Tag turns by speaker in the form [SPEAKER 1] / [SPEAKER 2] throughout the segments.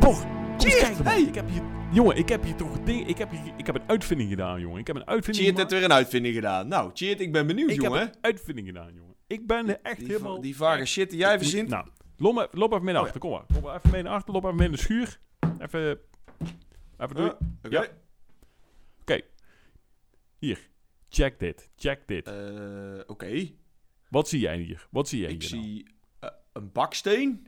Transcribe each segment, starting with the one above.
[SPEAKER 1] Toch! Kom eens
[SPEAKER 2] Cheers!
[SPEAKER 1] kijken, man.
[SPEAKER 2] Hey!
[SPEAKER 1] Ik heb hier... Jongen, ik heb hier toch ding... Ik heb, hier, ik heb een uitvinding gedaan, jongen. Ik heb een uitvinding
[SPEAKER 2] Cheert heeft
[SPEAKER 1] gemaakt.
[SPEAKER 2] weer een uitvinding gedaan. Nou, Cheert, ik ben benieuwd,
[SPEAKER 1] Ik heb
[SPEAKER 2] jongen.
[SPEAKER 1] een uitvinding gedaan, jongen. Ik ben er echt
[SPEAKER 2] die, va-
[SPEAKER 1] helemaal...
[SPEAKER 2] die vage shit die jij verzint.
[SPEAKER 1] Nou, loop, maar- loop even mee naar
[SPEAKER 2] Oh, ja.
[SPEAKER 1] achter. Kom maar. Loop maar even mee naar achter. Loop even mee in de schuur. Even... Even doen.
[SPEAKER 2] Eh, Oké.
[SPEAKER 1] Ja. Check dit. Check dit.
[SPEAKER 2] Eh, Oké.
[SPEAKER 1] Wat zie jij hier? Wat zie jij
[SPEAKER 2] Ik
[SPEAKER 1] hier nou?
[SPEAKER 2] zie eh, een baksteen.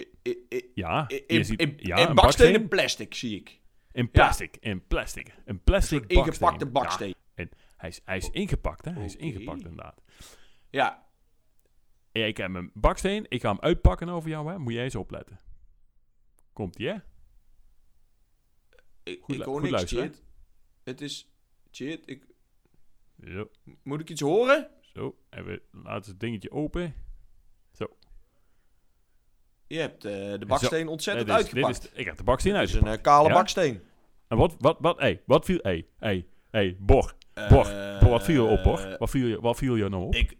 [SPEAKER 2] I- i- i-
[SPEAKER 1] Ja,
[SPEAKER 2] i-
[SPEAKER 1] je
[SPEAKER 2] in-
[SPEAKER 1] ziet...
[SPEAKER 2] in-
[SPEAKER 1] ja,
[SPEAKER 2] in
[SPEAKER 1] een
[SPEAKER 2] baksteen
[SPEAKER 1] baksteen.
[SPEAKER 2] en plastic, zie ik.
[SPEAKER 1] In plastic. In plastic. Een plastic baksteen.
[SPEAKER 2] Ingepakte
[SPEAKER 1] Ja,
[SPEAKER 2] baksteen.
[SPEAKER 1] hij, is, hij is ingepakt, hè? Hij is
[SPEAKER 2] Oké.
[SPEAKER 1] ingepakt, inderdaad.
[SPEAKER 2] Ja.
[SPEAKER 1] Ja, ik heb mijn baksteen. Ik ga hem uitpakken over jou, hè. Moet jij eens opletten. Komt ie, hè?
[SPEAKER 2] Ik,
[SPEAKER 1] Goed
[SPEAKER 2] ik
[SPEAKER 1] lu-
[SPEAKER 2] hoor
[SPEAKER 1] goed
[SPEAKER 2] niks,
[SPEAKER 1] luisteren, hè?
[SPEAKER 2] Cheert. Het is... Cheert, ik...
[SPEAKER 1] Zo,
[SPEAKER 2] Moet ik iets horen?
[SPEAKER 1] zo. Even laten het dingetje open.
[SPEAKER 2] Je hebt eh, de baksteen ontzettend
[SPEAKER 1] Dit is- dit
[SPEAKER 2] uitgepakt.
[SPEAKER 1] is, ik heb de baksteen
[SPEAKER 2] Het is
[SPEAKER 1] uitgepakt.
[SPEAKER 2] een eh, kale
[SPEAKER 1] Ja?
[SPEAKER 2] baksteen.
[SPEAKER 1] En wat, wat, wat, hey, wat viel, hey, hey, hey, Bor, Bor,
[SPEAKER 2] Eh,
[SPEAKER 1] Bor, wat viel je op, Bor? Wat viel je, wat viel je nou op?
[SPEAKER 2] Ik,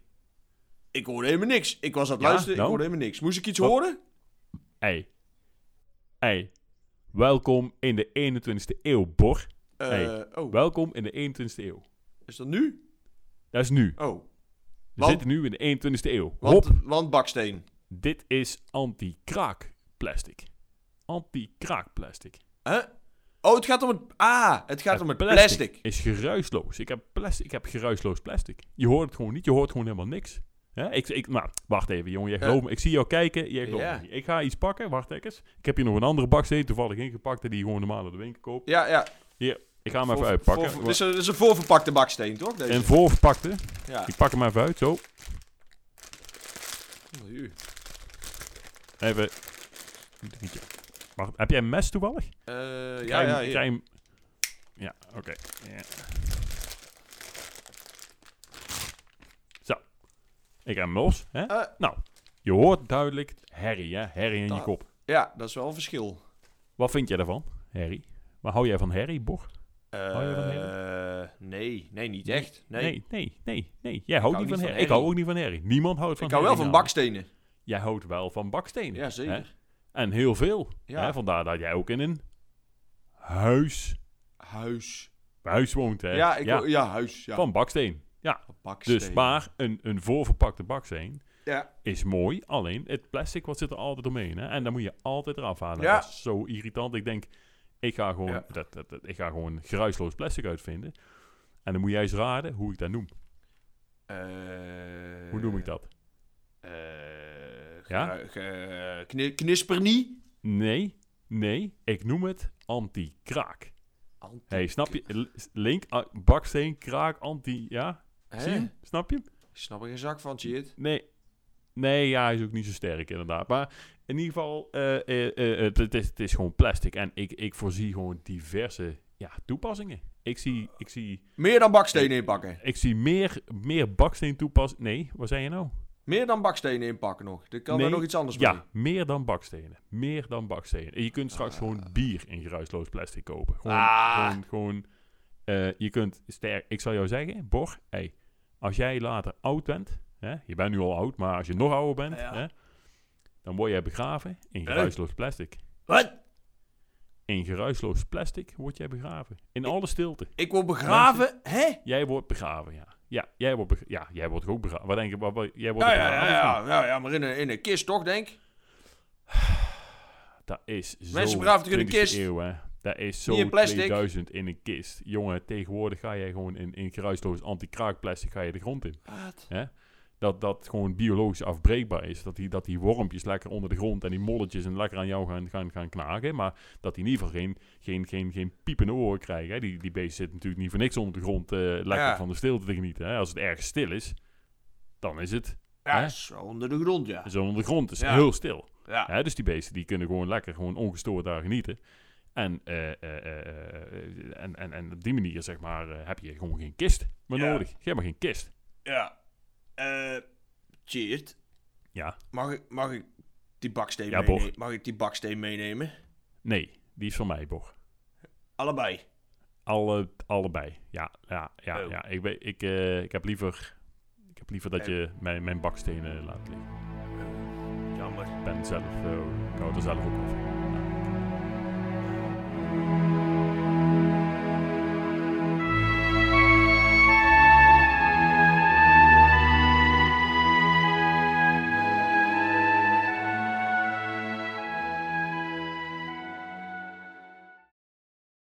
[SPEAKER 2] ik hoorde helemaal niks. Ik was aan het
[SPEAKER 1] Ja,
[SPEAKER 2] luisteren,
[SPEAKER 1] nou?
[SPEAKER 2] ik hoorde helemaal niks. Moest ik iets
[SPEAKER 1] Wat-
[SPEAKER 2] horen?
[SPEAKER 1] Hey, hey, welkom in de 21ste eeuw, Bor.
[SPEAKER 2] Eh,
[SPEAKER 1] Nee.
[SPEAKER 2] oh,
[SPEAKER 1] Welkom in de 21ste eeuw.
[SPEAKER 2] is dat nu?
[SPEAKER 1] Dat is nu.
[SPEAKER 2] Oh,
[SPEAKER 1] We
[SPEAKER 2] Want-
[SPEAKER 1] zitten nu in de 21ste eeuw.
[SPEAKER 2] want,
[SPEAKER 1] Hop,
[SPEAKER 2] want baksteen.
[SPEAKER 1] dit is anti-kraakplastic. Anti-kraakplastic.
[SPEAKER 2] Huh? Oh, het gaat om het... Ah, het gaat om het plastic.
[SPEAKER 1] is geruisloos. Ik heb, plastic, ik heb geruisloos plastic. Je hoort het gewoon niet. Je hoort gewoon helemaal niks. Hè? Ik, ik, nou, wacht even, jongen. Jij
[SPEAKER 2] Ja.
[SPEAKER 1] gelooft me. Ik zie jou kijken. Jij gelooft
[SPEAKER 2] Eh. Ja.
[SPEAKER 1] me niet. Ik ga iets pakken. Wacht even. Ik heb hier nog een andere baksteen toevallig ingepakt... die je gewoon normaal uit de winkel koopt.
[SPEAKER 2] Ja, ja.
[SPEAKER 1] Hier, ik ga hem
[SPEAKER 2] Voor-
[SPEAKER 1] even uitpakken.
[SPEAKER 2] voor- dus- Het is, een, het is een voorverpakte baksteen, toch? Deze?
[SPEAKER 1] en voorverpakte.
[SPEAKER 2] Ja.
[SPEAKER 1] Ik pak hem even uit, zo. Even. Drietje. Wacht, heb jij een mes toevallig?
[SPEAKER 2] Eh, ja,
[SPEAKER 1] Krijg hem-
[SPEAKER 2] ja, hier.
[SPEAKER 1] krijg hem- Ja, oké. Ja. Zo. Ik heb hem los. Hè?
[SPEAKER 2] Eh.
[SPEAKER 1] Nou, je hoort duidelijk herrie, hè? Herrie in je
[SPEAKER 2] Ah.
[SPEAKER 1] kop.
[SPEAKER 2] ja, dat is wel een verschil.
[SPEAKER 1] Wat vind jij daarvan, herrie? Maar hou jij van herrie, Bor? Hou je van
[SPEAKER 2] Eh, nee, nee, niet echt. Nee.
[SPEAKER 1] nee, nee, nee. nee. Jij houdt niet van
[SPEAKER 2] hou niet van
[SPEAKER 1] herrie. Ik hou ook niet van herrie. Niemand houdt van
[SPEAKER 2] Ik hou wel
[SPEAKER 1] herrie
[SPEAKER 2] van
[SPEAKER 1] namelijk.
[SPEAKER 2] bakstenen.
[SPEAKER 1] Jij houdt wel van bakstenen.
[SPEAKER 2] Ja, zeker.
[SPEAKER 1] Hè? En heel veel.
[SPEAKER 2] Ja.
[SPEAKER 1] Hè? Vandaar dat jij ook in een huis,
[SPEAKER 2] Huis.
[SPEAKER 1] huis woont, hè?
[SPEAKER 2] Ja, ik, ja. huis. Ja.
[SPEAKER 1] Eh, Van baksteen. Ja,
[SPEAKER 2] baksteen.
[SPEAKER 1] Dus maar een, een voorverpakte baksteen
[SPEAKER 2] Ja.
[SPEAKER 1] is mooi. Alleen het plastic wat zit er altijd omheen. Hè? En dan moet je altijd eraf halen.
[SPEAKER 2] Ja.
[SPEAKER 1] Dat is zo irritant. Ik denk, ik ga, gewoon,
[SPEAKER 2] Ja.
[SPEAKER 1] dat, dat, dat- ik ga gewoon geruisloos plastic uitvinden. En dan moet jij eens raden hoe ik dat noem.
[SPEAKER 2] Eh,
[SPEAKER 1] Hoe noem ik dat?
[SPEAKER 2] eh,
[SPEAKER 1] Ja?
[SPEAKER 2] geru- ge- eh, kni- knispernie.
[SPEAKER 1] Nee, nee. Ik noem het anti-kraak. hey, snap je? L- Link, ah, baksteen, kraak, anti... Ja,
[SPEAKER 2] Hè?
[SPEAKER 1] zie je? hem? Snap je? hem?
[SPEAKER 2] Ik Snap er geen zak van, shit.
[SPEAKER 1] Nee. Nee, ja, hij is ook niet zo sterk inderdaad. Maar in ieder geval, eh, eh, eh, het, het is, het is gewoon plastic. En ik, ik voorzie gewoon diverse ja, toepassingen. Ik zie, ik zie,
[SPEAKER 2] Meer dan bakstenen inpakken.
[SPEAKER 1] ik zie meer, meer baksteen toepassen. Nee, wat zei je nou?
[SPEAKER 2] Meer dan bakstenen inpakken nog. Er kan
[SPEAKER 1] Nee.
[SPEAKER 2] er nog iets anders mee.
[SPEAKER 1] Ja, meer dan bakstenen. Meer dan bakstenen. En je kunt straks gewoon bier in geruisloos plastic kopen. Gewoon,
[SPEAKER 2] Ah.
[SPEAKER 1] gewoon, gewoon eh, je kunt sterk... Ik zal jou zeggen, Bor, hey, als jij later oud bent... Hè, je bent nu al oud, maar als je nog ouder bent...
[SPEAKER 2] Ja.
[SPEAKER 1] Hè, dan word jij begraven in
[SPEAKER 2] Hey.
[SPEAKER 1] geruisloos plastic.
[SPEAKER 2] Wat?
[SPEAKER 1] In geruisloos plastic word jij begraven. In alle stilte.
[SPEAKER 2] Ik word begraven, hè?
[SPEAKER 1] Jij wordt begraven, ja. Ja, jij wordt, beg- ja, jij wordt ook begraven. Wat denk je? Wat, wat- jij wordt
[SPEAKER 2] Ja, ja,
[SPEAKER 1] begraven,
[SPEAKER 2] ja,
[SPEAKER 1] of
[SPEAKER 2] ja,
[SPEAKER 1] niet?
[SPEAKER 2] ja, ja, maar in een, in een kist toch, denk ik?
[SPEAKER 1] Dat is zo
[SPEAKER 2] Mensen begraven toch in een
[SPEAKER 1] 20e
[SPEAKER 2] kist?
[SPEAKER 1] Eeuw, hè? Dat is zo
[SPEAKER 2] Niet in plastic.
[SPEAKER 1] 2000 in een kist. Jongen, tegenwoordig ga jij gewoon in, in geruisloos anti-kraakplastic ga je de grond in.
[SPEAKER 2] Wat?
[SPEAKER 1] Dat dat gewoon biologisch afbreekbaar is. Dat die, dat die wormpjes lekker onder de grond en die molletjes en lekker aan jou gaan, gaan, gaan knagen. Maar dat die in ieder geval geen, geen, geen, geen piepende oren krijgen. Hè? Die, die beesten zitten natuurlijk niet voor niks onder de grond eh, lekker
[SPEAKER 2] Ja.
[SPEAKER 1] van de stilte te genieten. Hè? Als het erg stil is, dan is het
[SPEAKER 2] Ja,
[SPEAKER 1] Hè? Dus-
[SPEAKER 2] zo onder de grond, ja.
[SPEAKER 1] zo onder de grond. Het is
[SPEAKER 2] Ja.
[SPEAKER 1] heel stil.
[SPEAKER 2] Ja,
[SPEAKER 1] Hè, dus die beesten die kunnen gewoon lekker gewoon ongestoord daar genieten. En, eh, eh, eh, eh, en, en, en op die manier zeg maar, eh, heb je gewoon geen kist meer
[SPEAKER 2] Ja.
[SPEAKER 1] nodig. Je hebt maar geen kist.
[SPEAKER 2] ja. Eh, Tjeerd,
[SPEAKER 1] Ja,
[SPEAKER 2] mag ik, mag ik die baksteen
[SPEAKER 1] Ja,
[SPEAKER 2] meenemen?
[SPEAKER 1] Bob.
[SPEAKER 2] Mag ik die baksteen meenemen?
[SPEAKER 1] nee, die is van mij, Bor.
[SPEAKER 2] Allebei.
[SPEAKER 1] Alle, allebei. Ja, ja, ja.
[SPEAKER 2] Oh.
[SPEAKER 1] ja. Ik, ben- ik, eh, ik heb liever, ik heb liever dat
[SPEAKER 2] Eh.
[SPEAKER 1] je mijn, mijn bakstenen laat liggen.
[SPEAKER 2] Jammer.
[SPEAKER 1] Ik ben zelf, eh, ik hou er zelf ook al van.